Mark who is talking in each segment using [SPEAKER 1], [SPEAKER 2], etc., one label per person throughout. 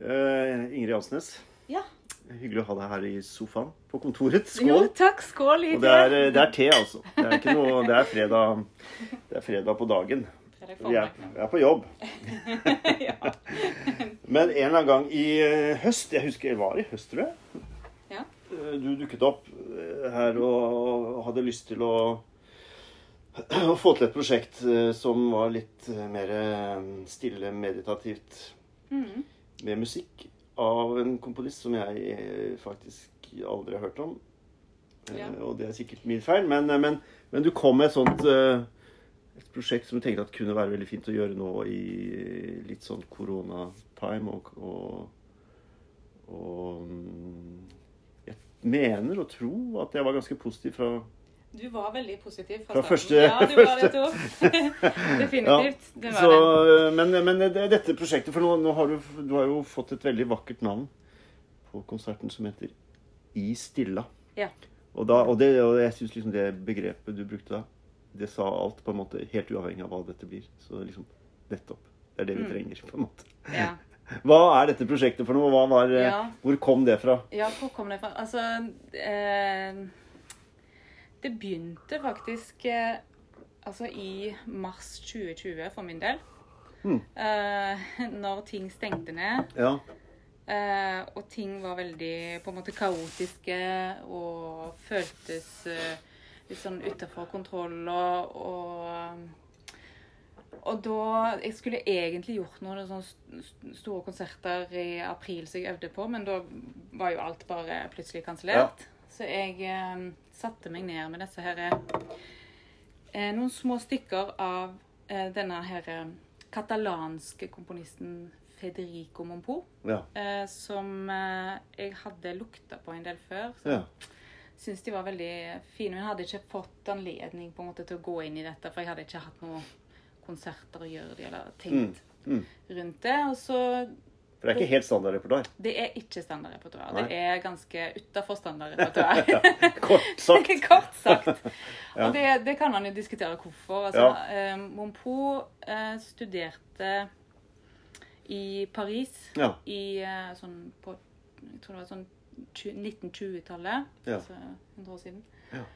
[SPEAKER 1] Eh, Ingrid Ansnes,
[SPEAKER 2] Ja.
[SPEAKER 1] hyggelig å ha deg her i sofaen på kontoret.
[SPEAKER 2] Jo,
[SPEAKER 1] Skål!
[SPEAKER 2] takk. Skål i
[SPEAKER 1] Og det er, det er te, altså. Det er, ikke noe, det er, fredag, det er fredag på dagen.
[SPEAKER 2] Fredag
[SPEAKER 1] Vi er,
[SPEAKER 2] formiddag.
[SPEAKER 1] vi er på jobb.
[SPEAKER 2] ja.
[SPEAKER 1] Men en eller annen gang i eh, høst Jeg husker det var i høst, tror jeg.
[SPEAKER 2] Ja.
[SPEAKER 1] eh, Du dukket opp eh, her og og hadde lyst til å, å få til et prosjekt eh, som var litt eh, mer eh, stille, meditativt,
[SPEAKER 2] Mhm.
[SPEAKER 1] med musikk av en komponist som jeg eh, faktisk aldri har hørt om. Eh,
[SPEAKER 2] Ja.
[SPEAKER 1] Og det er sikkert min feil, men, eh, men, men du kom med et sånt eh, et prosjekt som jeg tenkte at kunne være veldig fint å gjøre nå i eh, litt sånn koronatime. Og, og, og mm, jeg mener og tror at jeg var ganske positiv fra
[SPEAKER 2] Du var veldig positiv fra,
[SPEAKER 1] Fra første-
[SPEAKER 2] starten. Ja, du var det,
[SPEAKER 1] første-
[SPEAKER 2] Tor. Definitivt.
[SPEAKER 1] Ja,
[SPEAKER 2] Det var
[SPEAKER 1] så,
[SPEAKER 2] det.
[SPEAKER 1] eh, Men, men det- det- dette prosjektet For nå, nå har du, du har jo fått et veldig vakkert navn på konserten som heter I stilla.
[SPEAKER 2] Ja.
[SPEAKER 1] Og, da, og, det, og jeg syns liksom det begrepet du brukte da, det sa alt, på en måte, helt uavhengig av hva dette blir. Så liksom Nettopp. Det er det vi
[SPEAKER 2] Mm.
[SPEAKER 1] trenger, på en måte.
[SPEAKER 2] Ja.
[SPEAKER 1] Hva er dette prosjektet for noe? Hva var, eh,
[SPEAKER 2] Ja.
[SPEAKER 1] Hvor kom det fra?
[SPEAKER 2] ja, hvor kom det fra? Altså eh, Det begynte faktisk eh, altså i mars 2020 for min del.
[SPEAKER 1] Mhm.
[SPEAKER 2] Eh, når ting stengte ned.
[SPEAKER 1] Ja.
[SPEAKER 2] Eh, og ting var veldig på en måte kaotiske og føltes eh, litt sånn utafor kontroll og, og Og da Jeg skulle egentlig gjort noen sånne st- st- store konserter i april som jeg øvde på, men da var jo alt bare plutselig kansellert. Så jeg eh, satte meg ned med disse her eh, Noen små stykker av eh, denne her eh, katalanske komponisten Federico Mompou
[SPEAKER 1] Ja.
[SPEAKER 2] eh, som eh, jeg hadde lukta på en del før. Så
[SPEAKER 1] ja.
[SPEAKER 2] syntes de var veldig fine. Men jeg hadde ikke fått anledning på en måte til å gå inn i dette, for jeg hadde ikke hatt noen konserter å gjøre det, eller tenkt
[SPEAKER 1] Mm.
[SPEAKER 2] rundt det. Og så
[SPEAKER 1] For det er ikke helt standard repertoar.
[SPEAKER 2] Det er ikke standardrepertoar.
[SPEAKER 1] Nei.
[SPEAKER 2] Det er ganske utafor standardrepertoar.
[SPEAKER 1] Kort sagt.
[SPEAKER 2] Kort sagt.
[SPEAKER 1] Ja.
[SPEAKER 2] Og det, det kan man jo diskutere hvorfor. Altså, eh, Monpo eh, studerte i Paris
[SPEAKER 1] Ja.
[SPEAKER 2] i eh, sånn på Jeg tror det var sånn tju- 1920-tallet.
[SPEAKER 1] Ja.
[SPEAKER 2] Altså 100 år siden.
[SPEAKER 1] Ja.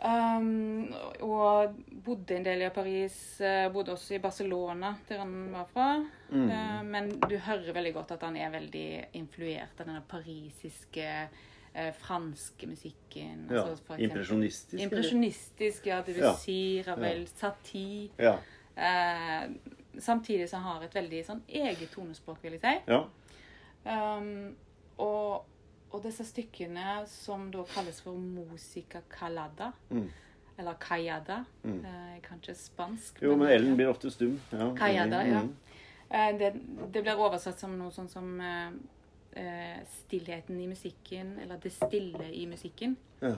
[SPEAKER 2] Um, og bodde en del i Paris. eh, Bodde også i Barcelona, der han var fra.
[SPEAKER 1] Mm.
[SPEAKER 2] Eh, men du hører veldig godt at han er veldig influert av denne parisiske, eh, franske musikken.
[SPEAKER 1] ja.
[SPEAKER 2] altså for eksempel-
[SPEAKER 1] Impresjonistisk. eller?
[SPEAKER 2] Impresjonistisk, ja. Debussy, Ravel, Satie.
[SPEAKER 1] Ja.
[SPEAKER 2] Eh, samtidig som han har et veldig sånn eget tonespråk, vil jeg si.
[SPEAKER 1] ja.
[SPEAKER 2] Um, og, og disse stykkene som da kalles for musica calada,
[SPEAKER 1] Mm.
[SPEAKER 2] eller callada
[SPEAKER 1] Mm.
[SPEAKER 2] eh, Jeg kan ikke spansk.
[SPEAKER 1] Jo, men Ellen blir ofte stum. Ja,
[SPEAKER 2] Kaja
[SPEAKER 1] enig.
[SPEAKER 2] da, ja.
[SPEAKER 1] Mm.
[SPEAKER 2] Eh, det, det blir oversatt som noe sånn som eh, eh, stillheten i musikken, eller det stille i musikken.
[SPEAKER 1] Ja.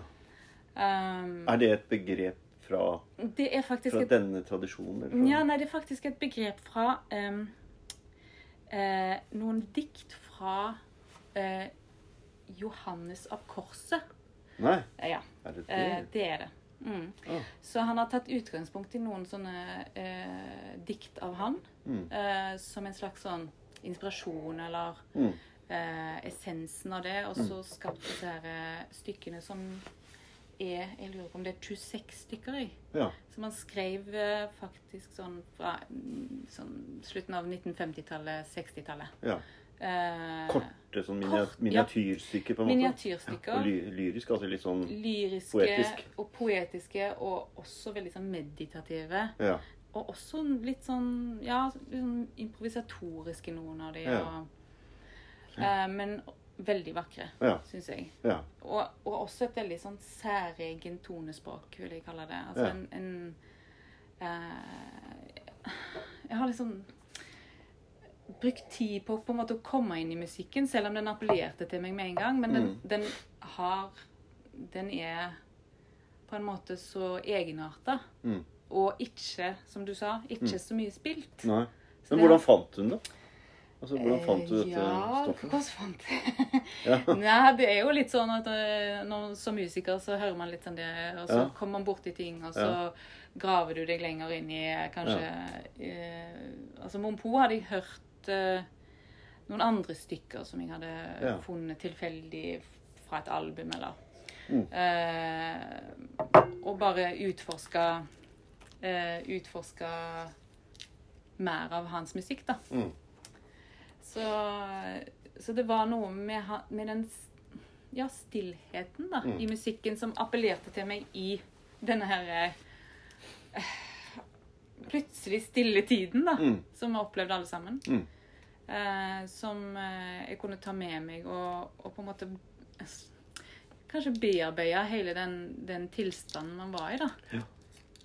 [SPEAKER 2] Um,
[SPEAKER 1] Er det et begrep fra,
[SPEAKER 2] det er faktisk
[SPEAKER 1] fra
[SPEAKER 2] et
[SPEAKER 1] denne tradisjonen? Eller fra?
[SPEAKER 2] Ja, nei, det er faktisk et begrep fra em, eh, noen dikt fra eh, Johannes av Korset.
[SPEAKER 1] Nei,
[SPEAKER 2] Eh, ja,
[SPEAKER 1] er det det?
[SPEAKER 2] eh, det er det. Mm.
[SPEAKER 1] Ah.
[SPEAKER 2] Så han har tatt utgangspunkt i noen sånne eh, dikt av han,
[SPEAKER 1] Mm.
[SPEAKER 2] eh, som en slags sånn inspirasjon eller
[SPEAKER 1] Mm.
[SPEAKER 2] eh, essensen av det, og så skapt disse her eh, stykkene som er Jeg lurer på om det er 26 stykker i.
[SPEAKER 1] Ja.
[SPEAKER 2] Som han skrev eh, faktisk sånn fra mm, sånn, slutten av 1950-tallet, 60-tallet.
[SPEAKER 1] ja.
[SPEAKER 2] Eh,
[SPEAKER 1] Korte sånn minia
[SPEAKER 2] Kort, ja.
[SPEAKER 1] miniatyrstykker, på en måte. Og
[SPEAKER 2] Miniatyrstykker.
[SPEAKER 1] ly lyrisk, altså litt sånn
[SPEAKER 2] Lyriske
[SPEAKER 1] Poetisk.
[SPEAKER 2] og poetiske, og også veldig sånn meditative.
[SPEAKER 1] Ja.
[SPEAKER 2] Og også litt sånn ja, litt sånn improvisatoriske, noen av de.
[SPEAKER 1] Ja.
[SPEAKER 2] Og, eh, men veldig vakre,
[SPEAKER 1] Ja.
[SPEAKER 2] syns jeg.
[SPEAKER 1] ja.
[SPEAKER 2] Og, og også et veldig sånn særegen tonespråk, vil jeg kalle det. Altså
[SPEAKER 1] Ja.
[SPEAKER 2] en, en eh, Jeg har liksom brukt tid på, på en måte å komme inn i musikken, selv om den appellerte til meg med en gang. Men den,
[SPEAKER 1] Mm.
[SPEAKER 2] den har Den er på en måte så egenarta.
[SPEAKER 1] Mm.
[SPEAKER 2] Og ikke, som du sa, ikke så mye spilt.
[SPEAKER 1] Nei.
[SPEAKER 2] Så
[SPEAKER 1] Men
[SPEAKER 2] det-
[SPEAKER 1] hvordan fant hun det? Altså, hvordan fant du
[SPEAKER 2] Eh,
[SPEAKER 1] dette
[SPEAKER 2] ja,
[SPEAKER 1] stoffet?
[SPEAKER 2] hvordan fant jeg
[SPEAKER 1] Ja.
[SPEAKER 2] Nei, det er jo litt sånn at eh, når, som musiker så hører man litt sånn det, og så
[SPEAKER 1] Ja.
[SPEAKER 2] kommer man borti ting, og så
[SPEAKER 1] Ja.
[SPEAKER 2] graver du deg lenger inn i eh, kanskje eh, Altså Mompo hadde jeg hørt eh, noen andre stykker som jeg hadde
[SPEAKER 1] Ja.
[SPEAKER 2] funnet tilfeldig f- fra et album, eller
[SPEAKER 1] Mm.
[SPEAKER 2] eh, Og bare utforska eh, Utforska mer av hans musikk, da.
[SPEAKER 1] Mm.
[SPEAKER 2] Så, så det var noe med, ha- med den s- ja, stillheten da,
[SPEAKER 1] Mm.
[SPEAKER 2] i musikken som appellerte til meg i denne her eh, plutselig stille tiden da,
[SPEAKER 1] Mm.
[SPEAKER 2] som vi opplevde alle sammen.
[SPEAKER 1] Mm.
[SPEAKER 2] Eh, som eh, jeg kunne ta med meg og, og på en måte s- kanskje bearbeide hele den, den tilstanden man var i da.
[SPEAKER 1] Ja.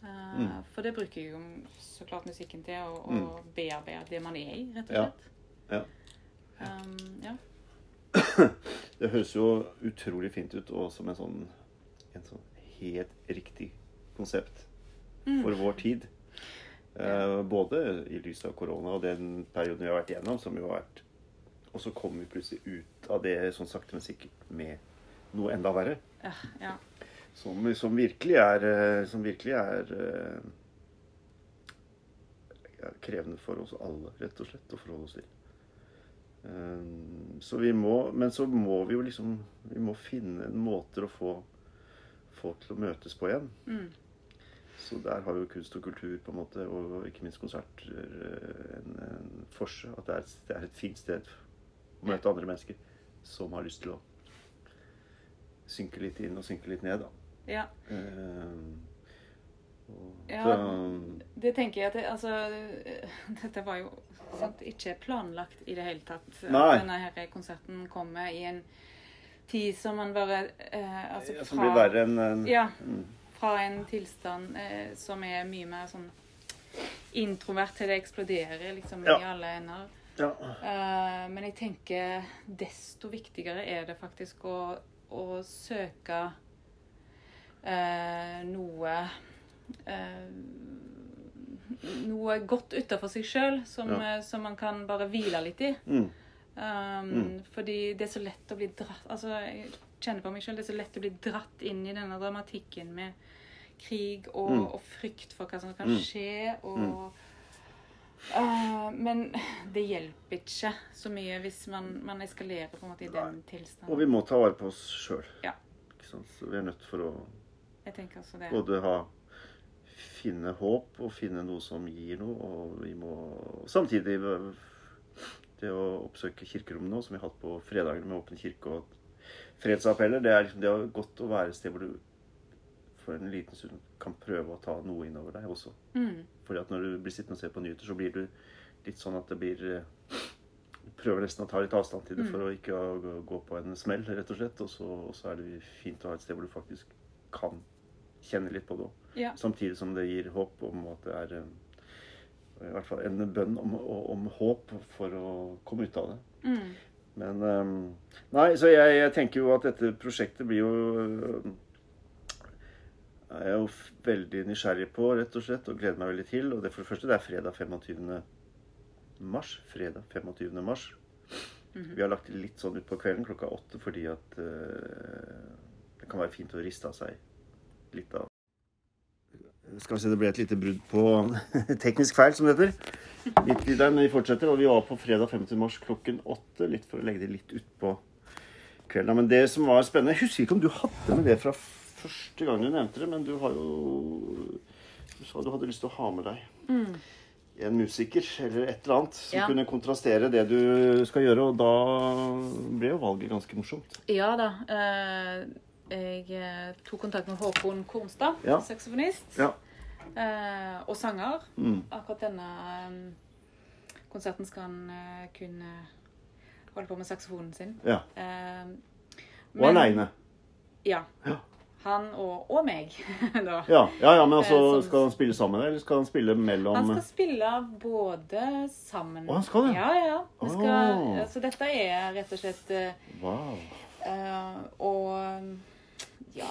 [SPEAKER 2] Eh,
[SPEAKER 1] Mm.
[SPEAKER 2] For det bruker jo så klart musikken til, å, å bearbeide det man er i, rett og
[SPEAKER 1] Ja.
[SPEAKER 2] slett.
[SPEAKER 1] Ja.
[SPEAKER 2] Um, ja.
[SPEAKER 1] Det høres jo utrolig fint ut, og som en sånn, en sånn helt riktig konsept for vår tid. Eh, både i lys av korona og den perioden vi har vært igjennom, som jo har vært Og så kommer vi plutselig ut av det sånn sakte, men sikkert med noe enda verre.
[SPEAKER 2] Ja, Eh, ja.
[SPEAKER 1] Som, som virkelig er eh, Som virkelig er eh, ja, krevende for oss alle, rett og slett, å forholde oss til. Eh, Så vi må Men så må vi jo liksom Vi må finne måter å få folk til å møtes på igjen.
[SPEAKER 2] Mm.
[SPEAKER 1] Så der har jo kunst og kultur på en måte, og ikke minst konserter, eh, en, en forse. At det er, et- det er et fint sted å møte andre mennesker som har lyst til å synke litt inn og synke litt ned, da.
[SPEAKER 2] ja.
[SPEAKER 1] Eh, og,
[SPEAKER 2] Ja.
[SPEAKER 1] så, eh,
[SPEAKER 2] Det tenker jeg at det, altså eh, Dette var jo sant, ikke planlagt i det hele tatt. At
[SPEAKER 1] Nei.
[SPEAKER 2] Denne her konserten kommer i en tid som man bare eh, altså
[SPEAKER 1] ja,
[SPEAKER 2] fra,
[SPEAKER 1] som blir verre enn enn-
[SPEAKER 2] Ja.
[SPEAKER 1] Mm.
[SPEAKER 2] Fra en tilstand eh, som er mye mer sånn introvert til det eksploderer liksom
[SPEAKER 1] Ja.
[SPEAKER 2] i alle ender.
[SPEAKER 1] ja.
[SPEAKER 2] Eh, men jeg tenker desto viktigere er det faktisk å, å søke eh, noe eh, Noe godt utafor seg sjøl som,
[SPEAKER 1] Ja.
[SPEAKER 2] eh, som man kan bare hvile litt i.
[SPEAKER 1] Mm.
[SPEAKER 2] Um, Fordi det er så lett å bli dratt Altså, jeg kjenner på meg sjøl, det er så lett å bli dratt inn i denne dramatikken med krig og,
[SPEAKER 1] Mm.
[SPEAKER 2] og frykt for hva som kan
[SPEAKER 1] Mm.
[SPEAKER 2] skje, og Uh, Men det hjelper ikke så mye hvis man, man eskalerer på en måte i den tilstanden.
[SPEAKER 1] Og vi må ta vare på oss sjøl.
[SPEAKER 2] Ja.
[SPEAKER 1] Så vi er nødt for å
[SPEAKER 2] Jeg tenker også det.
[SPEAKER 1] både ha finne håp og finne noe som gir noe, og vi må samtidig øh, det å oppsøke kirkerommet nå, som vi har hatt på fredager med åpen kirke og fredsapeller, det er liksom det er godt å være et sted hvor du for en liten stund kan prøve å ta noe innover deg også.
[SPEAKER 2] Mm.
[SPEAKER 1] Fordi at når du blir sittende og se på nyheter, så blir du litt sånn at det blir eh, Du prøver nesten å ta litt avstand til det for å ikke å gå- gå på en smell, rett og slett. Og så, og så er det fint å ha et sted hvor du faktisk kan kjenne litt på det òg.
[SPEAKER 2] Ja.
[SPEAKER 1] Samtidig som det gir håp om at det er eh, i hvert fall en bønn om, om håp for å komme ut av det.
[SPEAKER 2] Mm.
[SPEAKER 1] Men ehm, Nei, så jeg, jeg tenker jo at dette prosjektet blir jo øhm, er Jeg er jo f- veldig nysgjerrig på, rett og slett, og gleder meg veldig til. Og det for det første, det er fredag 25. mars. Fredag 25. mars. Vi har lagt det litt sånn utpå kvelden klokka åtte fordi at øh, det kan være fint å riste av seg litt av Skal vi se, det ble et lite brudd på teknisk feil, som det heter. Litt i der, men vi fortsetter. Og vi var på fredag 50. mars klokken åtte. Litt for å legge det litt utpå kvelden. Men det som var spennende Jeg husker ikke om du hadde med det fra første gang du nevnte det, men du har jo Du sa du hadde lyst til å ha med deg en musiker eller et eller annet som
[SPEAKER 2] Mm. Ja.
[SPEAKER 1] kunne kontrastere det du skal gjøre, og da ble jo valget ganske morsomt.
[SPEAKER 2] Ja da. eh, jeg eh, tok kontakt med Håkon Kornstad,
[SPEAKER 1] Ja.
[SPEAKER 2] saksofonist
[SPEAKER 1] Ja.
[SPEAKER 2] eh, og sanger.
[SPEAKER 1] Mm.
[SPEAKER 2] Akkurat denne eh, konserten skal han eh, kunne holde på med saksofonen sin.
[SPEAKER 1] ja.
[SPEAKER 2] Eh,
[SPEAKER 1] Og
[SPEAKER 2] men-
[SPEAKER 1] aleine.
[SPEAKER 2] Ja.
[SPEAKER 1] Ja.
[SPEAKER 2] Han og, og meg, da.
[SPEAKER 1] Ja. ja, ja, men
[SPEAKER 2] Eh,
[SPEAKER 1] altså
[SPEAKER 2] som-
[SPEAKER 1] Skal han spille sammen, eller skal han spille mellom
[SPEAKER 2] Han skal spille både sammen
[SPEAKER 1] Å, han skal det?
[SPEAKER 2] Ja, ja, ja. Vi Skal, eh,
[SPEAKER 1] Å.
[SPEAKER 2] Så dette er rett og slett eh,
[SPEAKER 1] Wow.
[SPEAKER 2] eh, å ja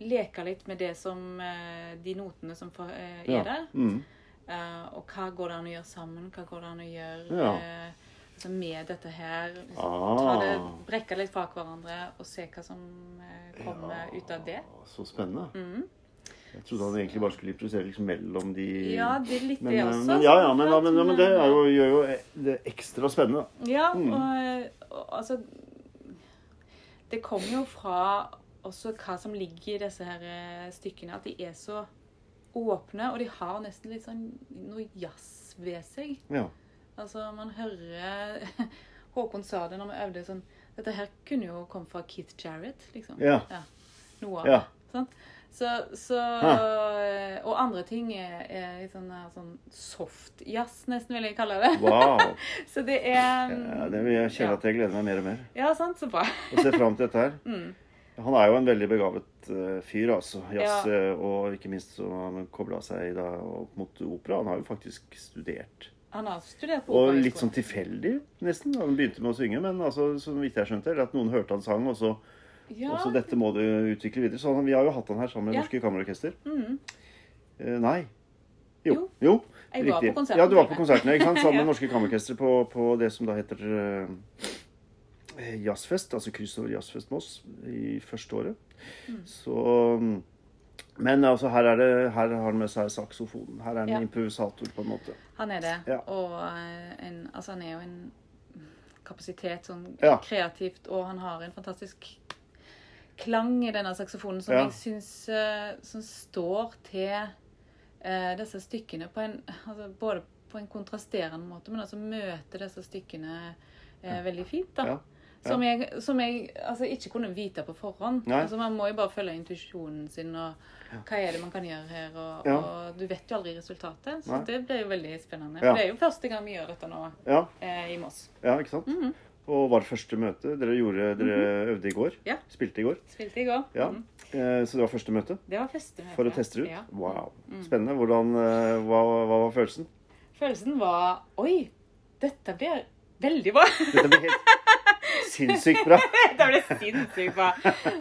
[SPEAKER 2] leke litt med det som eh, De notene som for, eh, er der.
[SPEAKER 1] Mm.
[SPEAKER 2] Eh, og hva går det an å gjøre sammen? Hva går det an å gjøre
[SPEAKER 1] Ja.
[SPEAKER 2] eh, altså med dette her?
[SPEAKER 1] Ah.
[SPEAKER 2] Ta det, brekke litt fra hverandre og se hva som eh, kommer
[SPEAKER 1] Ja,
[SPEAKER 2] ut av det.
[SPEAKER 1] Så spennende.
[SPEAKER 2] Mhm.
[SPEAKER 1] Jeg trodde han egentlig bare skulle introdusere liksom mellom de
[SPEAKER 2] Ja, det likte
[SPEAKER 1] men,
[SPEAKER 2] jeg
[SPEAKER 1] eh,
[SPEAKER 2] også. sånn
[SPEAKER 1] men, ja, ja, men, ja, men, ja, men det er jo, gjør jo det ekstra spennende. da.
[SPEAKER 2] Ja, og, og altså Det kommer jo fra også hva som ligger i disse her eh, stykkene, at de er så åpne, og de har nesten litt sånn noe jazz ved seg.
[SPEAKER 1] Ja.
[SPEAKER 2] Altså, man hører Håkon sa det når vi øvde sånn Dette her kunne jo komme fra Keith Jarrett, liksom.
[SPEAKER 1] Ja.
[SPEAKER 2] Noe av
[SPEAKER 1] ja.
[SPEAKER 2] det. Sant? Så, så eh, Og andre ting er, er litt sånn, her sånn soft jazz, nesten, vil jeg kalle det.
[SPEAKER 1] Wow.
[SPEAKER 2] Så det er
[SPEAKER 1] Ja, det vil jeg kjenne at jeg gleder meg mer og mer.
[SPEAKER 2] Ja, sant. Så bra.
[SPEAKER 1] Og ser fram til dette her.
[SPEAKER 2] Mm.
[SPEAKER 1] Han er jo en veldig begavet eh, fyr, altså. Jazz,
[SPEAKER 2] Ja.
[SPEAKER 1] eh, og ikke minst så har han kobla seg da opp mot opera. Han har jo faktisk studert.
[SPEAKER 2] Han har studert på
[SPEAKER 1] Og
[SPEAKER 2] operahøgskolen.
[SPEAKER 1] litt sånn tilfeldig, nesten. Han begynte med å synge, men altså, så vidt jeg skjønte, eller at noen hørte han sang, og så
[SPEAKER 2] ja.
[SPEAKER 1] og så dette må du utvikle videre. Så han, vi har jo hatt han her sammen med
[SPEAKER 2] Ja.
[SPEAKER 1] Norske Kammerorkester.
[SPEAKER 2] Mm.
[SPEAKER 1] Eh, nei. Jo.
[SPEAKER 2] Jo.
[SPEAKER 1] jo.
[SPEAKER 2] Jeg var på konserten
[SPEAKER 1] Ja, du var på
[SPEAKER 2] til og med.
[SPEAKER 1] konserten ikke sant? sammen med
[SPEAKER 2] Ja.
[SPEAKER 1] Norske Kammerorkester på, på det som da heter eh, Jazzfest, altså Kryssover Jazzfest Moss, i første året. Så mm, Men altså, her, er det, her har han med seg saksofonen. Her er han
[SPEAKER 2] Ja.
[SPEAKER 1] improvisator, på en måte.
[SPEAKER 2] Han er det.
[SPEAKER 1] Ja.
[SPEAKER 2] Og eh, en, altså, han er jo en kapasitet sånn
[SPEAKER 1] Ja.
[SPEAKER 2] kreativt, og han har en fantastisk klang i denne saksofonen som
[SPEAKER 1] Ja.
[SPEAKER 2] jeg syns eh, som står til eh, disse stykkene på en altså, Både på en kontrasterende måte, men altså møter disse stykkene eh, veldig fint. da.
[SPEAKER 1] Ja. Ja.
[SPEAKER 2] Som jeg, som jeg altså, ikke kunne vite på forhånd.
[SPEAKER 1] Nei.
[SPEAKER 2] Altså, man må jo bare følge intuisjonen sin, og hva er det man kan gjøre her? Og,
[SPEAKER 1] Ja.
[SPEAKER 2] og du vet jo aldri resultatet, så
[SPEAKER 1] Nei.
[SPEAKER 2] det blir jo veldig spennende.
[SPEAKER 1] Ja.
[SPEAKER 2] For det er jo første gang vi gjør dette nå
[SPEAKER 1] Ja,
[SPEAKER 2] eh, i Moss.
[SPEAKER 1] ja ikke sant?
[SPEAKER 2] Mhm.
[SPEAKER 1] Og var det første møte dere gjorde? Dere øvde i går?
[SPEAKER 2] Ja.
[SPEAKER 1] Spilte i går?
[SPEAKER 2] Spilte i går.
[SPEAKER 1] Ja.
[SPEAKER 2] Mhm.
[SPEAKER 1] Eh, så det var første møte?
[SPEAKER 2] Det var første møte.
[SPEAKER 1] For å teste det ut?
[SPEAKER 2] Ja. Mhm.
[SPEAKER 1] Wow. Spennende. Hvordan, eh, hva, hva var følelsen?
[SPEAKER 2] Følelsen var Oi, dette blir veldig bra.
[SPEAKER 1] Dette blir helt sinnssykt bra.
[SPEAKER 2] dette blir sinnssykt bra.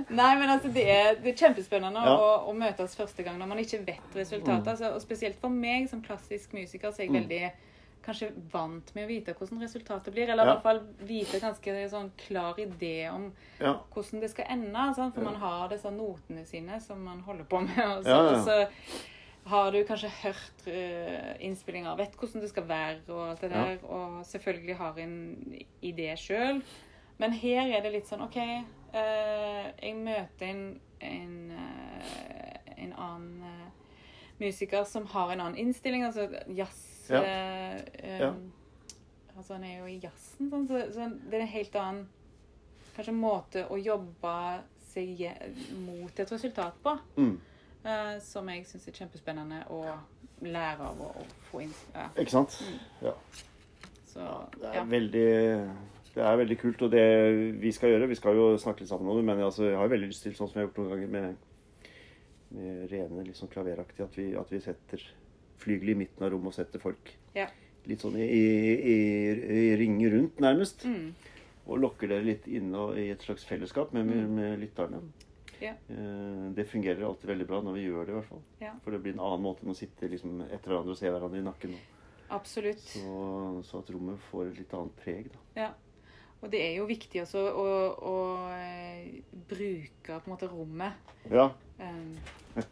[SPEAKER 2] Nei, men altså, det er, det er kjempespennende
[SPEAKER 1] Ja. Mm.
[SPEAKER 2] å, å møtes første gang når man ikke vet resultatet. Altså, og spesielt for meg som klassisk musiker, så er jeg veldig kanskje vant med å vite hvordan resultatet blir. Eller i
[SPEAKER 1] Ja.
[SPEAKER 2] hvert fall vite ganske sånn klar idé om
[SPEAKER 1] Ja.
[SPEAKER 2] hvordan det skal ende. Sant? For man har disse notene sine som man holder på med. Og så,
[SPEAKER 1] Ja, ja.
[SPEAKER 2] og så har du kanskje hørt eh, innspillinger, vet hvordan det skal være og alt det
[SPEAKER 1] Ja.
[SPEAKER 2] der. Og selvfølgelig har en idé sjøl. Men her er det litt sånn OK, eh, jeg møter en, en, eh, en annen eh, musiker som har en annen innstilling. Altså jazz
[SPEAKER 1] Ja.
[SPEAKER 2] eh, eh,
[SPEAKER 1] Ja.
[SPEAKER 2] Altså han er jo i jazzen, sånn, så, så det er en helt annen kanskje måte å jobbe seg je- mot et resultat på.
[SPEAKER 1] Mm.
[SPEAKER 2] eh, som jeg syns er kjempespennende å lære av å, å få inn. Ja,
[SPEAKER 1] Ikke sant? Ja.
[SPEAKER 2] så,
[SPEAKER 1] Det
[SPEAKER 2] Mm. ja.
[SPEAKER 1] er veldig det er veldig kult, og det vi skal gjøre Vi skal jo snakke litt sammen om det, men altså, jeg har veldig lyst til, sånn som jeg har gjort noen ganger med, med rene liksom klaveraktig, at vi, at vi setter flygel i midten av rommet og setter folk
[SPEAKER 2] Ja.
[SPEAKER 1] litt sånn i, i, i, i ring rundt, nærmest.
[SPEAKER 2] Mm.
[SPEAKER 1] Og lokker dere litt inne og- i et slags fellesskap med, med, med lytterne.
[SPEAKER 2] Ja.
[SPEAKER 1] Eh, Det fungerer alltid veldig bra når vi gjør det, i hvert fall.
[SPEAKER 2] Ja.
[SPEAKER 1] For det blir en annen måte enn å sitte liksom etter hverandre og se hverandre i nakken.
[SPEAKER 2] Absolutt.
[SPEAKER 1] Så, så at rommet får et litt annet preg, da.
[SPEAKER 2] Ja. Og det er jo viktig også å, å eh, bruke på en måte rommet.
[SPEAKER 1] Ja,
[SPEAKER 2] Eh,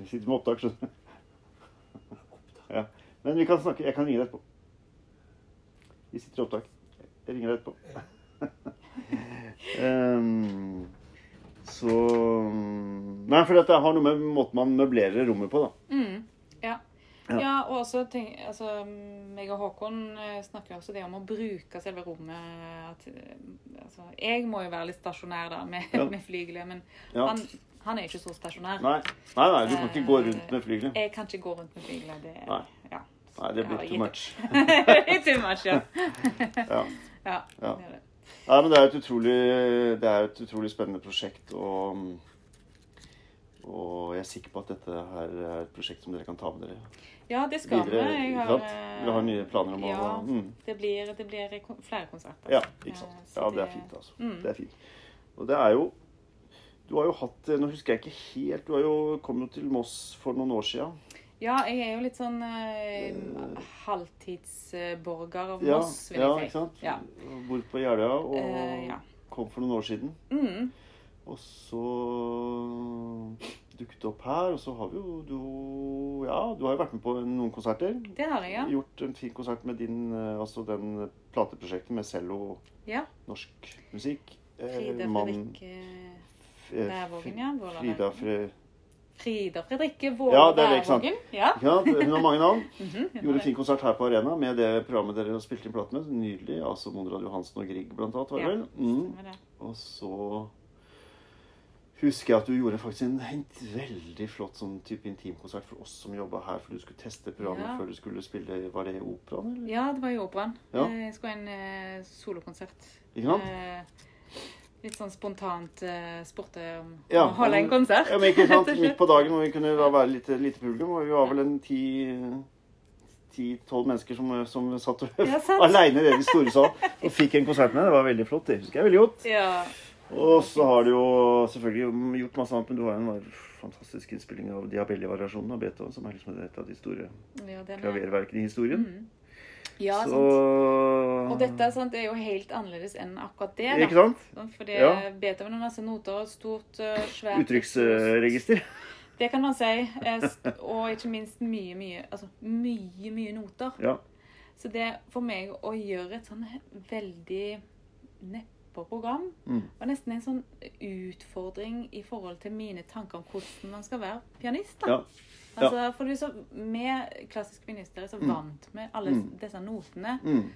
[SPEAKER 1] vi sitter med opptak, skjønner du. Ja. Men vi kan snakke. Jeg kan ringe deg etterpå. Vi sitter i opptak. Jeg ringer deg etterpå. Ehm, så Nei, for dette har noe med måten man møblerer rommet på, da.
[SPEAKER 2] Mm, ja.
[SPEAKER 1] Ja.
[SPEAKER 2] ja. og også tenk, altså, meg og Håkon eh, snakker jo også det om å bruke selve rommet. At, eh, altså, jeg må jo være litt stasjonær da, med,
[SPEAKER 1] Ja.
[SPEAKER 2] med flygelet, men
[SPEAKER 1] Ja.
[SPEAKER 2] han, han er ikke så stasjonær.
[SPEAKER 1] Nei. nei, nei, du kan ikke gå rundt med flygelet.
[SPEAKER 2] Jeg kan ikke gå rundt med flygelet. Det,
[SPEAKER 1] Nei.
[SPEAKER 2] Ja.
[SPEAKER 1] Nei, det blir
[SPEAKER 2] eh, Ja,
[SPEAKER 1] too much.
[SPEAKER 2] Litt too much, ja.
[SPEAKER 1] Ja.
[SPEAKER 2] ja,
[SPEAKER 1] Ja.
[SPEAKER 2] Det er det.
[SPEAKER 1] Nei, men det er et utrolig, det er et utrolig spennende prosjekt, og, og jeg er sikker på at dette her er et prosjekt som dere kan ta med dere
[SPEAKER 2] ja, det skal
[SPEAKER 1] videre.
[SPEAKER 2] vi. Jeg
[SPEAKER 1] ikke
[SPEAKER 2] har,
[SPEAKER 1] sant?
[SPEAKER 2] eh,
[SPEAKER 1] Dere har nye planer om
[SPEAKER 2] ja,
[SPEAKER 1] å mm.
[SPEAKER 2] det blir, det blir kon- flere konserter.
[SPEAKER 1] Ja, ikke sant.
[SPEAKER 2] Eh, så
[SPEAKER 1] Ja, det er
[SPEAKER 2] det-
[SPEAKER 1] fint, altså.
[SPEAKER 2] Mm.
[SPEAKER 1] Det er fint. Og det er jo Du har jo hatt eh, Nå husker jeg ikke helt Du har jo, kom jo til Moss for noen år sia.
[SPEAKER 2] Ja, jeg er jo litt sånn eh, halvtidsborger av
[SPEAKER 1] Ja,
[SPEAKER 2] Moss, vil
[SPEAKER 1] ja,
[SPEAKER 2] jeg
[SPEAKER 1] ikke
[SPEAKER 2] si.
[SPEAKER 1] sant?
[SPEAKER 2] Ja.
[SPEAKER 1] Bor på Jeløya og
[SPEAKER 2] Eh, ja.
[SPEAKER 1] kom for noen år siden.
[SPEAKER 2] Mm,
[SPEAKER 1] Og så dukket opp her. Og så har vi jo du, Ja, du har jo vært med på noen konserter.
[SPEAKER 2] Det har jeg, ja.
[SPEAKER 1] Gjort en fin konsert med din eh, Altså den plateprosjektet med cello og
[SPEAKER 2] ja.
[SPEAKER 1] norsk musikk. Eh,
[SPEAKER 2] Frida
[SPEAKER 1] mann-
[SPEAKER 2] Fredrikke
[SPEAKER 1] f- eh,
[SPEAKER 2] Wærvågen, ja. Våla
[SPEAKER 1] Frida
[SPEAKER 2] Wærvågen.
[SPEAKER 1] Fre...
[SPEAKER 2] Frida Fredrikke
[SPEAKER 1] Ja,
[SPEAKER 2] Våle
[SPEAKER 1] det er det, ikke sant?
[SPEAKER 2] Wærvågen. Ja,
[SPEAKER 1] Ikke sant? Hun har mange navn.
[SPEAKER 2] Mhm, hun har
[SPEAKER 1] Gjorde en
[SPEAKER 2] det.
[SPEAKER 1] fin konsert her på Arena med det programmet dere har spilt inn plate med. Nydelig. Altså Monrad Johansen og Grieg, blant annet. Var det
[SPEAKER 2] Ja,
[SPEAKER 1] vel? Mm.
[SPEAKER 2] stemmer det.
[SPEAKER 1] Og så husker jeg at du gjorde faktisk en, en veldig flott sånn type intimkonsert for oss som jobba her, for du skulle teste programmet
[SPEAKER 2] Ja.
[SPEAKER 1] før du skulle spille Var det operaen, eller?
[SPEAKER 2] Ja, det var i operaen.
[SPEAKER 1] Ja.
[SPEAKER 2] Eh, Jeg skulle ha en eh, solokonsert.
[SPEAKER 1] Ikke sant?
[SPEAKER 2] Eh, litt sånn spontant eh, spurte om
[SPEAKER 1] Ja,
[SPEAKER 2] om å holde en
[SPEAKER 1] men-
[SPEAKER 2] konsert.
[SPEAKER 1] Ja, men ikke sant?
[SPEAKER 2] rett og slett.
[SPEAKER 1] Midt på dagen hvor vi kunne da være litt lite publikum. Og vi var vel en ti Ti-tolv mennesker som, som satt
[SPEAKER 2] Ja, sant.
[SPEAKER 1] aleine i den store sal og fikk en konsert med deg. Det var veldig flott. Det husker jeg veldig godt.
[SPEAKER 2] Ja.
[SPEAKER 1] Og så har du jo selvfølgelig gjort masse annet, men du har jo en fantastisk innspilling av Diabelli-variasjonen av Beethoven, som er liksom et av de store
[SPEAKER 2] ja, den er
[SPEAKER 1] klaververkene i historien.
[SPEAKER 2] Mhm. Ja,
[SPEAKER 1] så
[SPEAKER 2] sant. Og dette sant, er jo helt annerledes enn akkurat det. da.
[SPEAKER 1] Ikke sant?
[SPEAKER 2] Sånn, For det
[SPEAKER 1] Ja.
[SPEAKER 2] Beethoven har masse noter og et stort, eh, svært
[SPEAKER 1] Uttrykksregister.
[SPEAKER 2] Det kan man si. eh, st- Og ikke minst mye, mye Altså mye, mye noter.
[SPEAKER 1] Ja.
[SPEAKER 2] Så det for meg å gjøre et sånn he- veldig neppe program
[SPEAKER 1] Mm.
[SPEAKER 2] var nesten en sånn utfordring i forhold til mine tanker om hvordan man skal være pianist. da.
[SPEAKER 1] ja.
[SPEAKER 2] Altså, for du er så, med klassisk pianister er så
[SPEAKER 1] Mm.
[SPEAKER 2] vant med alle
[SPEAKER 1] Mm.
[SPEAKER 2] disse notene.
[SPEAKER 1] Mm.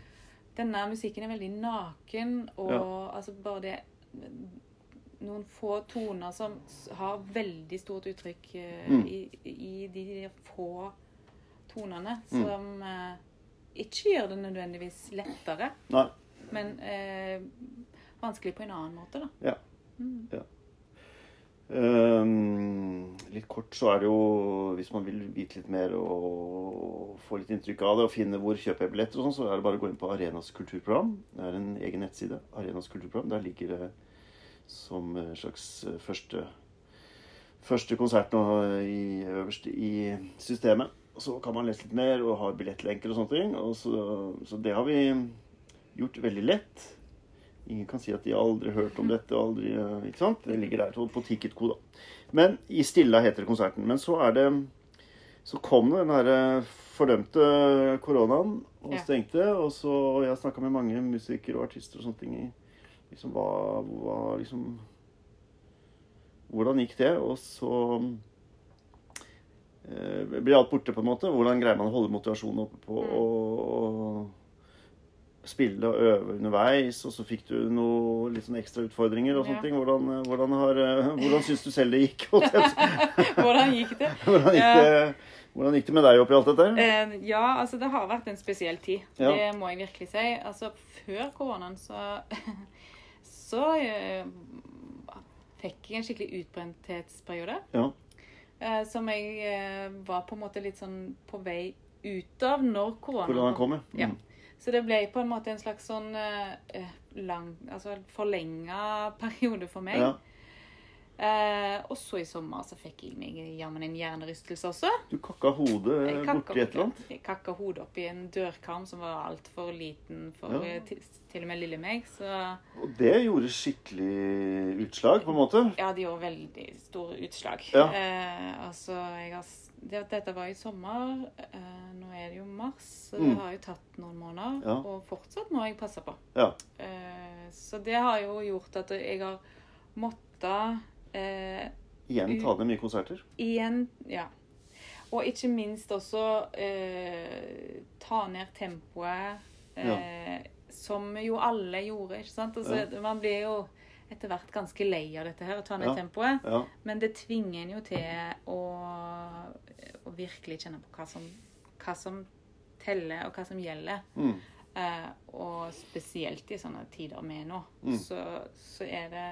[SPEAKER 2] Denne musikken er veldig naken, og altså bare det Noen få toner som s- har veldig stort uttrykk eh,
[SPEAKER 1] Mm.
[SPEAKER 2] i, i de få tonene, som eh, ikke gjør det nødvendigvis lettere,
[SPEAKER 1] Nei.
[SPEAKER 2] men eh, vanskelig på en annen måte, da.
[SPEAKER 1] Ja.
[SPEAKER 2] Mm.
[SPEAKER 1] Ehm, litt kort så er det jo Hvis man vil vite litt mer og få litt inntrykk av det og finne hvor kjøper jeg billetter og sånn, så er det bare å gå inn på Arenas kulturprogram. Det er en egen nettside. Arenas kulturprogram. Der ligger det som en slags eh, første første konsert nå eh, i, øverst i systemet. Og Så kan man lese litt mer og ha billettlenker og sånne ting. Og så, så det har vi gjort veldig lett. Ingen kan si at de aldri har hørt om dette. aldri, eh, ikke sant? Det ligger der på ticketkode. Men i Stilla heter det konserten. Men så er det så kom det den her eh, fordømte koronaen og
[SPEAKER 2] Ja.
[SPEAKER 1] stengte. Og så og jeg snakka med mange musikere og artister og sånne ting i liksom, hva, hva liksom Hvordan gikk det? Og så eh, blir alt borte, på en måte. Hvordan greier man å holde motivasjonen oppe på
[SPEAKER 2] Mm.
[SPEAKER 1] å å spille og øve underveis? Og så fikk du noe litt sånn ekstra utfordringer og
[SPEAKER 2] Ja.
[SPEAKER 1] sånne ting. Hvordan, eh, hvordan, har, eh, hvordan syns du selv det gikk? holdt jeg på å si?
[SPEAKER 2] Hvordan gikk det?
[SPEAKER 1] Hvordan gikk, det, hvordan gikk det med deg oppi alt dette? her?
[SPEAKER 2] Eh, ja, altså det har vært en spesiell tid.
[SPEAKER 1] Ja.
[SPEAKER 2] Det må jeg virkelig si. Altså før koronaen så så eh, fikk jeg en skikkelig utbrentheitsperiode.
[SPEAKER 1] Ja.
[SPEAKER 2] Eh, som jeg eh, var på en måte litt sånn på vei ut av når
[SPEAKER 1] Hvordan
[SPEAKER 2] koronaen
[SPEAKER 1] han kom,
[SPEAKER 2] Ja.
[SPEAKER 1] Mm.
[SPEAKER 2] Så det ble på en måte en slags sånn eh, eh, lang Altså forlenga periode for meg.
[SPEAKER 1] Ja.
[SPEAKER 2] Eh, og så i sommer så fikk jeg meg jammen en hjernerystelse også.
[SPEAKER 1] Du kakka hodet
[SPEAKER 2] Jeg kakka
[SPEAKER 1] Eh, borti et eller
[SPEAKER 2] hodet-
[SPEAKER 1] annet.
[SPEAKER 2] Jeg kakka hodet opp i en dørkarm som var altfor liten for
[SPEAKER 1] Ja.
[SPEAKER 2] eh, til, til og med lille meg. Så ja,
[SPEAKER 1] Og det gjorde skikkelig utslag, på en måte.
[SPEAKER 2] det gjorde veldig store utslag.
[SPEAKER 1] Ja.
[SPEAKER 2] Eh, altså, jeg har, s- det, dette var i sommer. Eh, nå er det jo mars, så
[SPEAKER 1] Mm.
[SPEAKER 2] det har jo tatt noen måneder.
[SPEAKER 1] Ja.
[SPEAKER 2] Og fortsatt må jeg passe på.
[SPEAKER 1] Ja.
[SPEAKER 2] Eh, så det har jo gjort at jeg har måttet eh,
[SPEAKER 1] Igjen ta ned mye konserter.
[SPEAKER 2] Igjen, ja. Og ikke minst også eh, ta ned tempoet, eh, som jo alle gjorde, ikke sant? Altså, Man blir jo etter hvert ganske lei av dette her, å ta ned
[SPEAKER 1] Ja.
[SPEAKER 2] tempoet.
[SPEAKER 1] Ja.
[SPEAKER 2] Men det tvinger en jo til å, å virkelig kjenne på hva som, hva som teller, og hva som gjelder.
[SPEAKER 1] Mm.
[SPEAKER 2] Eh, og spesielt i sånne tider vi er nå,
[SPEAKER 1] Mm.
[SPEAKER 2] så, så er det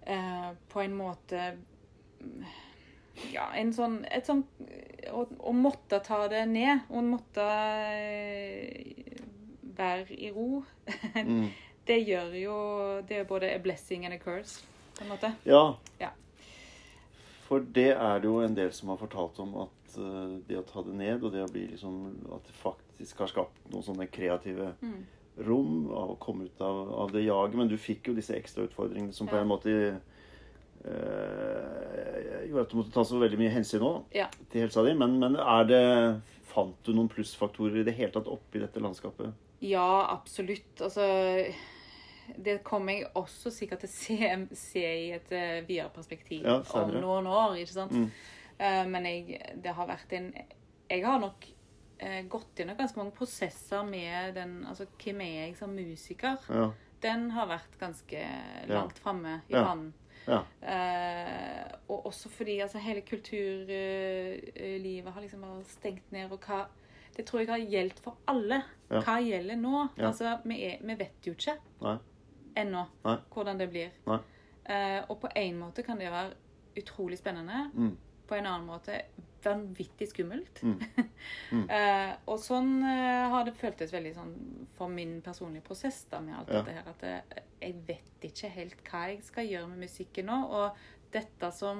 [SPEAKER 2] eh, på en måte mm, Ja, en sånn, et sånn å, å måtte ta det ned, og måtte eh, være i ro,
[SPEAKER 1] Mm.
[SPEAKER 2] det gjør jo Det er både a blessing and a curse, på en måte.
[SPEAKER 1] ja.
[SPEAKER 2] Ja.
[SPEAKER 1] For det er det jo en del som har fortalt om at eh, det å ta det ned, og det å bli liksom At det faktisk har skapt noen sånne kreative
[SPEAKER 2] Mm.
[SPEAKER 1] rom av å komme ut av, av det jaget. Men du fikk jo disse ekstra utfordringene som på
[SPEAKER 2] Ja.
[SPEAKER 1] en måte eh, gjorde at du måtte ta så veldig mye hensyn nå da,
[SPEAKER 2] Ja.
[SPEAKER 1] til helsa di. Men, men er det Fant du noen plussfaktorer i det hele tatt oppi dette landskapet?
[SPEAKER 2] Ja, absolutt. Altså Det kommer jeg også sikkert til å se, se i et eh, videre perspektiv
[SPEAKER 1] Ja,
[SPEAKER 2] om
[SPEAKER 1] senere.
[SPEAKER 2] noen år, ikke sant.
[SPEAKER 1] Mm.
[SPEAKER 2] Eh, men jeg, det har vært en Jeg har nok eh, gått gjennom ganske mange prosesser med den Altså, hvem er jeg som musiker?
[SPEAKER 1] Ja.
[SPEAKER 2] Den har vært ganske langt framme i
[SPEAKER 1] Ja.
[SPEAKER 2] pannen.
[SPEAKER 1] ja.
[SPEAKER 2] Eh, og også fordi altså, hele kulturlivet har liksom bare stengt ned. Og hva Det tror jeg har gjeldt for alle.
[SPEAKER 1] Ja.
[SPEAKER 2] Hva gjelder nå?
[SPEAKER 1] Ja.
[SPEAKER 2] Altså, vi, er, vi vet jo ikke
[SPEAKER 1] Nei.
[SPEAKER 2] ennå
[SPEAKER 1] Nei.
[SPEAKER 2] hvordan det blir.
[SPEAKER 1] Nei.
[SPEAKER 2] Eh, og på en måte kan det være utrolig spennende.
[SPEAKER 1] Mm.
[SPEAKER 2] På en annen måte vanvittig skummelt.
[SPEAKER 1] Mm. Mm.
[SPEAKER 2] eh, og sånn eh, har det føltes veldig sånn for min personlige prosess da med alt
[SPEAKER 1] Ja.
[SPEAKER 2] dette her. At eh, jeg vet ikke helt hva jeg skal gjøre med musikken nå. Og dette som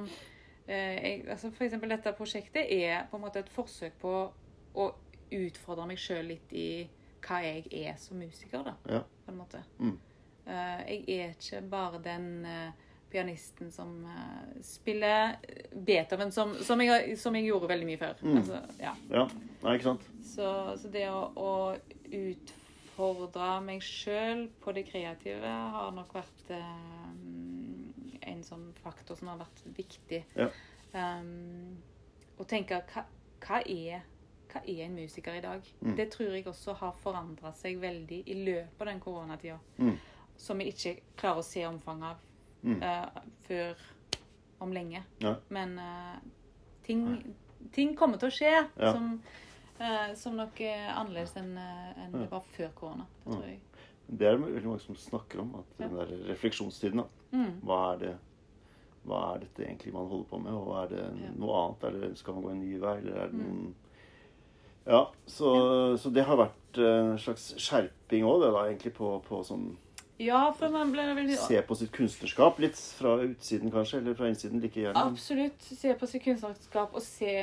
[SPEAKER 2] eh, jeg, altså For eksempel dette prosjektet er på en måte et forsøk på å utfordre meg sjøl litt i hva jeg er som musiker, da
[SPEAKER 1] Ja.
[SPEAKER 2] på en måte.
[SPEAKER 1] Mm.
[SPEAKER 2] Eh, jeg er ikke bare den eh, pianisten som eh, spiller eh, Beethoven, som, som, jeg, har- som jeg gjorde veldig mye før.
[SPEAKER 1] Mm.
[SPEAKER 2] Altså, ja.
[SPEAKER 1] ja. Nei, ikke sant?
[SPEAKER 2] så, så det å, å utfordre meg sjøl på det kreative har nok vært eh, en sånn faktor som har vært viktig.
[SPEAKER 1] Ja.
[SPEAKER 2] Um, å tenke hva, hva, er, hva er en musiker i dag?
[SPEAKER 1] Mm.
[SPEAKER 2] Det tror jeg også har forandra seg veldig i løpet av den koronatida.
[SPEAKER 1] Mm.
[SPEAKER 2] Som vi ikke klarer å se omfanget av
[SPEAKER 1] Mm.
[SPEAKER 2] eh, før om lenge.
[SPEAKER 1] Ja.
[SPEAKER 2] Men eh, ting, ting kommer til å skje
[SPEAKER 1] Ja.
[SPEAKER 2] som, eh, som nok er annerledes enn eh, enn
[SPEAKER 1] Ja.
[SPEAKER 2] det var før korona. Det tror jeg.
[SPEAKER 1] Det er det veldig mange som snakker om. At
[SPEAKER 2] Ja.
[SPEAKER 1] den der refleksjonstiden, da.
[SPEAKER 2] Mm.
[SPEAKER 1] Hva er det hva er dette egentlig man holder på med, og er det
[SPEAKER 2] Ja. Mm.
[SPEAKER 1] noe annet? Er det, skal man gå en ny vei, eller er det noen Ja, så, så det har vært eh, en slags skjerping òg, det da, egentlig, på, på sånn
[SPEAKER 2] Ja, for man ble veldig
[SPEAKER 1] Se på sitt kunstnerskap litt fra utsiden, kanskje, eller fra innsiden like gjerne.
[SPEAKER 2] Absolutt. Se på sitt kunstnerskap og se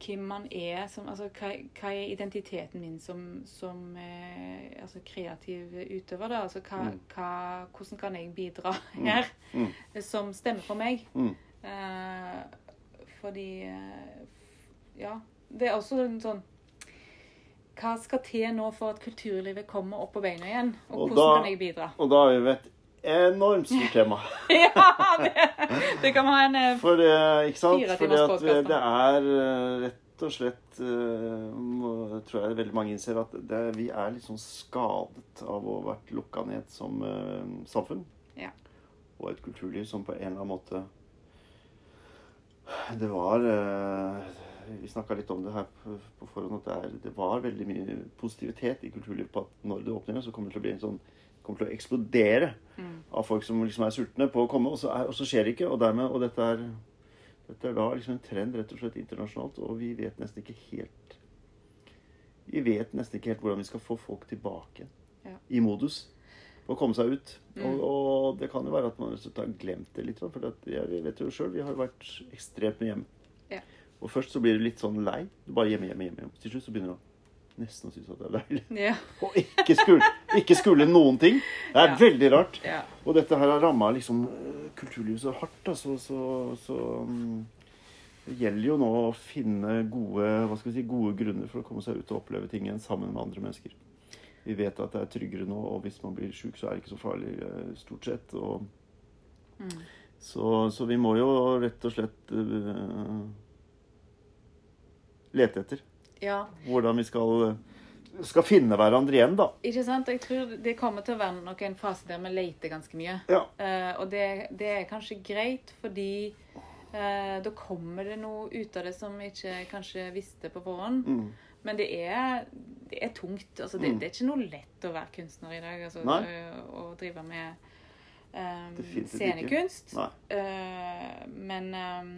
[SPEAKER 2] hvem man er. Som, altså, hva, hva er identiteten min som, som eh, altså, kreativ utøver? Da? Altså, hva,
[SPEAKER 1] Mm.
[SPEAKER 2] hva, hvordan kan jeg bidra her
[SPEAKER 1] Mm.
[SPEAKER 2] som stemmer for meg?
[SPEAKER 1] Mm.
[SPEAKER 2] Eh, fordi eh, f- Ja. Det er også en sånn Hva skal til nå for at kulturlivet kommer opp på beina igjen? Og,
[SPEAKER 1] Og
[SPEAKER 2] hvordan
[SPEAKER 1] da-
[SPEAKER 2] kan jeg bidra?
[SPEAKER 1] Og da er vi ved et enormt stort tema.
[SPEAKER 2] ja, det, det kan være en eh,
[SPEAKER 1] For det, ikke sant?
[SPEAKER 2] Fire timers
[SPEAKER 1] Fordi at
[SPEAKER 2] podcast,
[SPEAKER 1] det er eh, rett og slett eh, må- Tror jeg veldig mange innser at det, vi er litt sånn skadet av å ha vært lukka ned som eh, samfunn.
[SPEAKER 2] Ja.
[SPEAKER 1] Og et kulturliv som på en eller annen måte Det var eh, Vi snakka litt om det her på, på forhånd, at det, er, det var veldig mye positivitet i kulturlivet på at når det åpner igjen, så kommer det til å bli en sånn kommer til å eksplodere
[SPEAKER 2] Mm.
[SPEAKER 1] av folk som liksom er sultne på å komme, og så, er, og så skjer det ikke. Og, dermed, og dette, er, dette er da liksom en trend rett og slett internasjonalt, og vi vet nesten ikke helt Vi vet nesten ikke helt hvordan vi skal få folk tilbake
[SPEAKER 2] Ja.
[SPEAKER 1] i modus for å komme seg ut.
[SPEAKER 2] Mm.
[SPEAKER 1] Og, og det kan jo være at man rett og slett har glemt det litt, da, for at, ja, vi vet jo sjøl, vi har jo vært ekstremt mye hjemme.
[SPEAKER 2] Ja.
[SPEAKER 1] Og først så blir du litt sånn lei. Du bare hjemme, hjemme, hjemme. Til slutt så begynner du nesten å synes at det er deilig.
[SPEAKER 2] Ja.
[SPEAKER 1] Og ikke skulle, ikke skulle noen ting. Det er
[SPEAKER 2] Ja.
[SPEAKER 1] veldig rart.
[SPEAKER 2] ja.
[SPEAKER 1] Og dette her har ramma liksom, eh, kulturlivet så hardt, da, så, så, så mm, Det gjelder jo nå å finne gode, hva skal vi si, gode grunner for å komme seg ut og oppleve ting igjen sammen med andre mennesker. Vi vet at det er tryggere nå, og hvis man blir sjuk, så er det ikke så farlig, eh, stort sett. Og,
[SPEAKER 2] Mm.
[SPEAKER 1] så, så vi må jo rett og slett eh, lete etter
[SPEAKER 2] ja.
[SPEAKER 1] hvordan vi skal, eh, skal finne hverandre igjen, da.
[SPEAKER 2] Ikke sant? Jeg tror det kommer til å være nok en fase der vi leter ganske mye.
[SPEAKER 1] Ja.
[SPEAKER 2] Eh, og det, det er kanskje greit, fordi eh, da kommer det noe ut av det som vi ikke kanskje visste på forhånd.
[SPEAKER 1] Mm.
[SPEAKER 2] Men det er, det er tungt. Altså, det,
[SPEAKER 1] Mm.
[SPEAKER 2] det er ikke noe lett å være kunstner i dag. Altså,
[SPEAKER 1] Nei.
[SPEAKER 2] eh, å drive med eh,
[SPEAKER 1] Definitivt ikke.
[SPEAKER 2] scenekunst.
[SPEAKER 1] Nei.
[SPEAKER 2] Eh, men eh,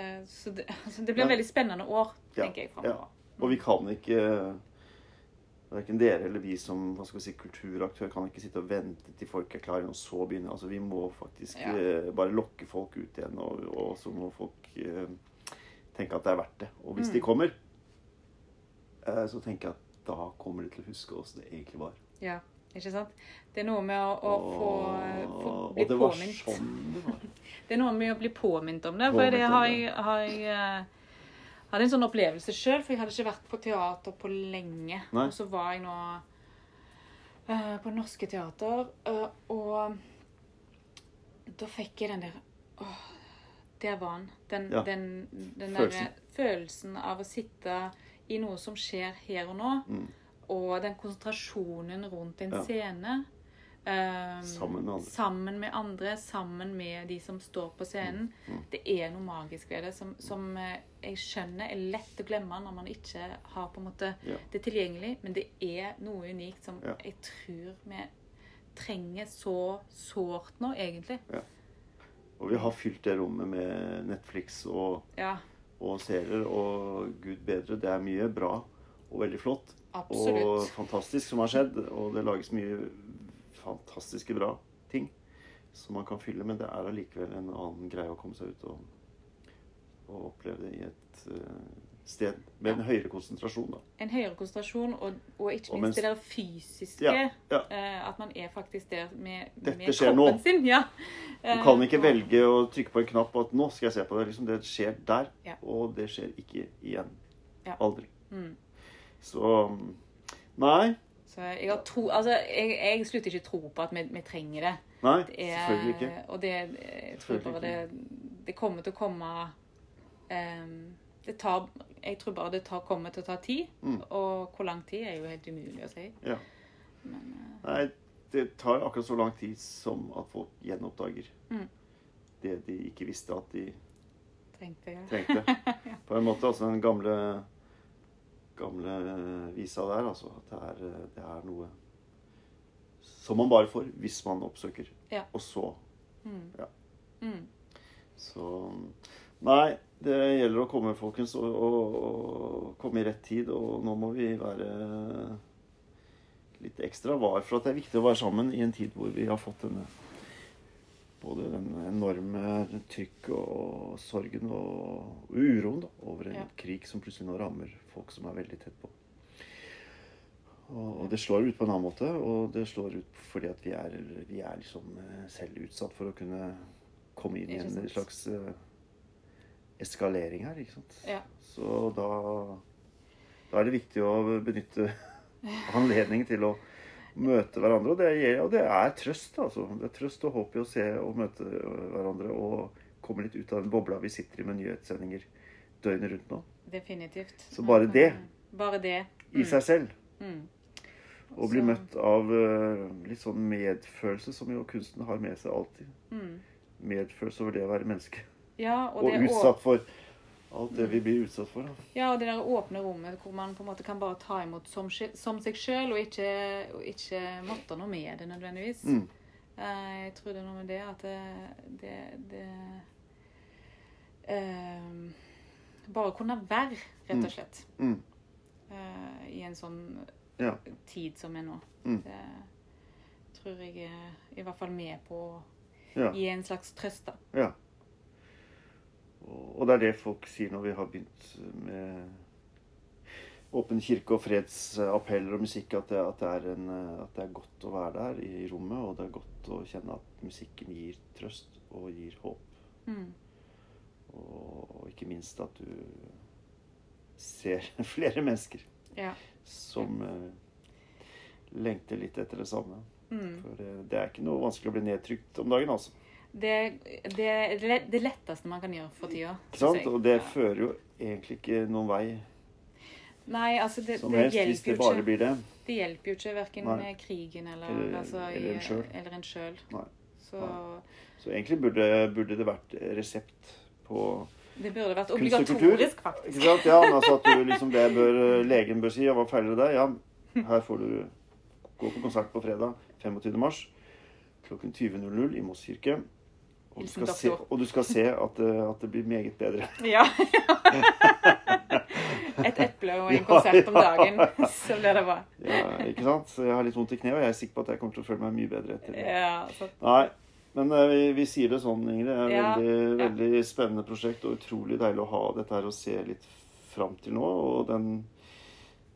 [SPEAKER 2] eh, Så det, altså, det blir
[SPEAKER 1] Ja.
[SPEAKER 2] veldig spennende år,
[SPEAKER 1] Ja,
[SPEAKER 2] tenker jeg fremover.
[SPEAKER 1] Og vi kan ikke Verken dere eller vi som hva skal vi si, kulturaktør kan ikke sitte og vente til folk er klare, og så begynne. Altså, vi må faktisk
[SPEAKER 2] Ja.
[SPEAKER 1] eh, bare lokke folk ut igjen, og, og så må folk eh, tenke at det er verdt det. Og hvis
[SPEAKER 2] Mm.
[SPEAKER 1] de kommer, eh, så tenker jeg at da kommer de til å huske oss det egentlig var.
[SPEAKER 2] Ja. Ikke sant? Det er noe med å, å få, øh, eh, få
[SPEAKER 1] Og-
[SPEAKER 2] bli
[SPEAKER 1] og det var
[SPEAKER 2] påminnet.
[SPEAKER 1] sånn det var.
[SPEAKER 2] Det er noe med å bli påminnet om det.
[SPEAKER 1] Påminnet
[SPEAKER 2] For det
[SPEAKER 1] om
[SPEAKER 2] har
[SPEAKER 1] det.
[SPEAKER 2] jeg, har jeg eh, hadde en sånn opplevelse sjøl, for jeg hadde ikke vært på teater på lenge.
[SPEAKER 1] Nei.
[SPEAKER 2] Og så var jeg nå eh, på Norske Teater, eh, og da fikk jeg den der Åh, der var den. Den,
[SPEAKER 1] Ja.
[SPEAKER 2] den, den
[SPEAKER 1] Følelsen.
[SPEAKER 2] derre følelsen av å sitte i noe som skjer her og nå,
[SPEAKER 1] Mm.
[SPEAKER 2] og den konsentrasjonen rundt en
[SPEAKER 1] Ja.
[SPEAKER 2] scene. eh,
[SPEAKER 1] Sammen med andre.
[SPEAKER 2] sammen med andre, sammen med de som står på scenen.
[SPEAKER 1] Mm,
[SPEAKER 2] Det er noe magisk ved det som, som eh, jeg skjønner er lett å glemme når man ikke har på en måte
[SPEAKER 1] Ja.
[SPEAKER 2] det tilgjengelig, men det er noe unikt som
[SPEAKER 1] Ja.
[SPEAKER 2] jeg tror vi trenger så sårt nå, egentlig.
[SPEAKER 1] Og vi har fylt det rommet med Netflix og,
[SPEAKER 2] Ja,
[SPEAKER 1] og serier, og gud bedre, det er mye bra og veldig flott. Og
[SPEAKER 2] absolutt.
[SPEAKER 1] fantastisk som har skjedd, og det lages mye fantastiske bra ting som man kan fylle, men det er allikevel en annen greie å komme seg ut og, og oppleve det i et eh, sted med en høyere konsentrasjon, da.
[SPEAKER 2] En høyere konsentrasjon, og, og ikke
[SPEAKER 1] Og
[SPEAKER 2] minst
[SPEAKER 1] mens-
[SPEAKER 2] det der fysiske.
[SPEAKER 1] Ja, ja.
[SPEAKER 2] eh, At man er faktisk der med,
[SPEAKER 1] Dette
[SPEAKER 2] med
[SPEAKER 1] skjer
[SPEAKER 2] kroppen
[SPEAKER 1] nå.
[SPEAKER 2] sin. Ja.
[SPEAKER 1] Du
[SPEAKER 2] Eh,
[SPEAKER 1] kan ikke velge å trykke på en knapp og at 'nå skal jeg se på det'. Liksom, det skjer der,
[SPEAKER 2] Ja.
[SPEAKER 1] og det skjer ikke igjen.
[SPEAKER 2] Ja.
[SPEAKER 1] Aldri.
[SPEAKER 2] Mm.
[SPEAKER 1] Så mm, Nei.
[SPEAKER 2] Så jeg, har tro, altså, jeg, jeg slutter ikke å tro på at vi, vi trenger det.
[SPEAKER 1] Nei,
[SPEAKER 2] det er,
[SPEAKER 1] selvfølgelig ikke.
[SPEAKER 2] Og det, eh, jeg tror
[SPEAKER 1] Selvfølgelig
[SPEAKER 2] bare det, det kommer til å komme ehm, det tar, Jeg tror bare det tar, kommer til å ta tid.
[SPEAKER 1] Mm.
[SPEAKER 2] Og hvor lang tid er jo helt umulig å si.
[SPEAKER 1] Ja. Nei, det tar akkurat så lang tid som at folk gjenoppdager
[SPEAKER 2] Mm.
[SPEAKER 1] det de ikke visste at de
[SPEAKER 2] Trengte jeg.
[SPEAKER 1] trengte. På en måte, altså den gamle, gamle eh, visa der, altså. At det er, eh, det er noe som man bare får hvis man oppsøker.
[SPEAKER 2] Ja.
[SPEAKER 1] Og så
[SPEAKER 2] Mm.
[SPEAKER 1] Ja.
[SPEAKER 2] Mm.
[SPEAKER 1] Så Nei, det gjelder å komme, folkens, og, og, og komme i rett tid. Og nå må vi være litt ekstra var for at det er viktig å være sammen i en tid hvor vi har fått denne både den enorme trykket og sorgen og uroen da, over en
[SPEAKER 2] Ja.
[SPEAKER 1] krig som plutselig nå rammer folk som er veldig tett på. Og, og det slår ut på en annen måte, og det slår ut fordi at vi er, vi er liksom eh, selv utsatt for å kunne komme inn i
[SPEAKER 2] Ikke
[SPEAKER 1] en
[SPEAKER 2] sant.
[SPEAKER 1] slags eh, eskalering her, ikke sant.
[SPEAKER 2] Ja.
[SPEAKER 1] Så da, da er det viktig å benytte anledning til å møte hverandre. Og det, gir, og det er trøst, altså. Det er trøst og håp i å se og møte hverandre og komme litt ut av den bobla vi sitter i med nyhetssendinger døgnet rundt nå.
[SPEAKER 2] Definitivt. Mm.
[SPEAKER 1] Så bare det.
[SPEAKER 2] Bare det.
[SPEAKER 1] I seg selv.
[SPEAKER 2] Mm.
[SPEAKER 1] Og bli
[SPEAKER 2] Så-
[SPEAKER 1] møtt av eh, litt sånn medfølelse, som jo kunsten har med seg alltid.
[SPEAKER 2] Mm.
[SPEAKER 1] Medfølelse over det å være menneske.
[SPEAKER 2] Ja, og,
[SPEAKER 1] Og,
[SPEAKER 2] det å-
[SPEAKER 1] utsatt for alt det vi blir utsatt for. altså. Da.
[SPEAKER 2] Ja, og det der åpne rommet hvor man på en måte kan bare ta imot som, sj- som seg sjøl, og ikke, og ikke måtte noe med det nødvendigvis.
[SPEAKER 1] Mm.
[SPEAKER 2] Eh, Jeg tror det er noe med det at det, det, det eh, Bare kunne være, rett
[SPEAKER 1] Mm.
[SPEAKER 2] og slett,
[SPEAKER 1] Mm.
[SPEAKER 2] eh, i en sånn
[SPEAKER 1] Ja.
[SPEAKER 2] tid som er nå.
[SPEAKER 1] Mm.
[SPEAKER 2] Det tror jeg er i hvert fall med på å
[SPEAKER 1] Ja.
[SPEAKER 2] gi en slags trøst, da.
[SPEAKER 1] Ja. Og og det er det folk sier når vi har begynt med Åpen kirke og fredsappeller og musikk, at det, at, det er en, eh, at det er godt å være der i rommet. Og det er godt å kjenne at musikken gir trøst og gir håp.
[SPEAKER 2] Mm.
[SPEAKER 1] Og, og ikke minst at du ser flere mennesker
[SPEAKER 2] Ja.
[SPEAKER 1] som eh, lengter litt etter det samme.
[SPEAKER 2] Mm.
[SPEAKER 1] For det, det er ikke noe vanskelig å bli nedtrykt om dagen, altså.
[SPEAKER 2] Det, det er det le- det letteste man kan gjøre for tida.
[SPEAKER 1] Ikke
[SPEAKER 2] synes
[SPEAKER 1] sant?
[SPEAKER 2] jeg.
[SPEAKER 1] Og det
[SPEAKER 2] Ja.
[SPEAKER 1] fører jo egentlig ikke noen vei
[SPEAKER 2] Nei, altså det,
[SPEAKER 1] som
[SPEAKER 2] det
[SPEAKER 1] helst, hvis
[SPEAKER 2] hjelper jo
[SPEAKER 1] det bare
[SPEAKER 2] ikke.
[SPEAKER 1] blir det.
[SPEAKER 2] Det hjelper jo ikke verken
[SPEAKER 1] Nei.
[SPEAKER 2] med krigen eller,
[SPEAKER 1] Eller-
[SPEAKER 2] altså, i-
[SPEAKER 1] eller en selv.
[SPEAKER 2] eller en sjøl.
[SPEAKER 1] Nei.
[SPEAKER 2] Så
[SPEAKER 1] Så egentlig burde, burde det vært resept på
[SPEAKER 2] det burde vært
[SPEAKER 1] Kunst og kultur.
[SPEAKER 2] obligatorisk, faktisk.
[SPEAKER 1] Ikke sant? Ja, men altså at du liksom det bør, legen bør si ja, hva feiler deg? Ja, her får du gå på konsert på fredag 25. mars klokken 20.00 i Moss kirke. Og du,
[SPEAKER 2] Hilsen
[SPEAKER 1] skal se,
[SPEAKER 2] doktor.
[SPEAKER 1] og du skal se at, det- at det blir meget bedre.
[SPEAKER 2] Ja. Et eple og en
[SPEAKER 1] Ja,
[SPEAKER 2] konsert om
[SPEAKER 1] ja.
[SPEAKER 2] dagen. Så blir det bra.
[SPEAKER 1] Ja, ikke sant? Så jeg har litt vondt i kneet, og jeg er sikker på at jeg kommer til å føle meg mye bedre etter det.
[SPEAKER 2] Ja, så,
[SPEAKER 1] Nei, men eh, vi, vi sier det sånn, Ingrid. Det er
[SPEAKER 2] Ja,
[SPEAKER 1] veldig,
[SPEAKER 2] ja.
[SPEAKER 1] veldig spennende prosjekt og utrolig deilig å ha dette her og se litt fram til nå. Og den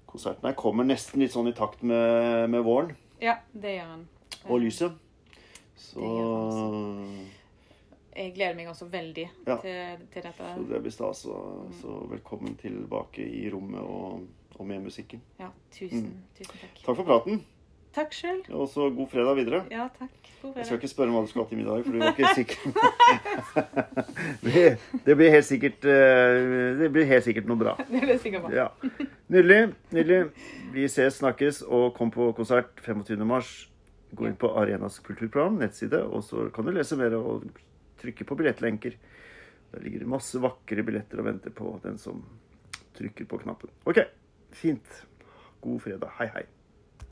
[SPEAKER 1] konserten her kommer nesten litt sånn i takt med, med våren.
[SPEAKER 2] Ja, det gjør han.
[SPEAKER 1] Og lyset. Så
[SPEAKER 2] Det gjør han Jeg gleder meg også veldig
[SPEAKER 1] Ja.
[SPEAKER 2] til, til dette.
[SPEAKER 1] Så det blir stas. og- Så velkommen tilbake i rommet og, og med musikken.
[SPEAKER 2] Ja, tusen, tusen takk.
[SPEAKER 1] Takk for praten,
[SPEAKER 2] Takk sjøl.
[SPEAKER 1] og så god fredag videre.
[SPEAKER 2] Ja, takk. God
[SPEAKER 1] Jeg skal
[SPEAKER 2] fredag.
[SPEAKER 1] ikke spørre om hva du skulle hatt i middag, for du var ikke sikker. det, det blir helt sikkert eh, Det blir helt sikkert noe bra.
[SPEAKER 2] Det er jeg sikker på.
[SPEAKER 1] Ja. Nydelig. Nydelig. Vi ses, snakkes, og kom på konsert 25. mars. Gå inn på Arenas kulturprogram, nettside, og så kan du lese mer og trykke på billettlenker. Der ligger det masse vakre billetter og venter på den som trykker på knappen. OK. Fint. God fredag. Hei, hei.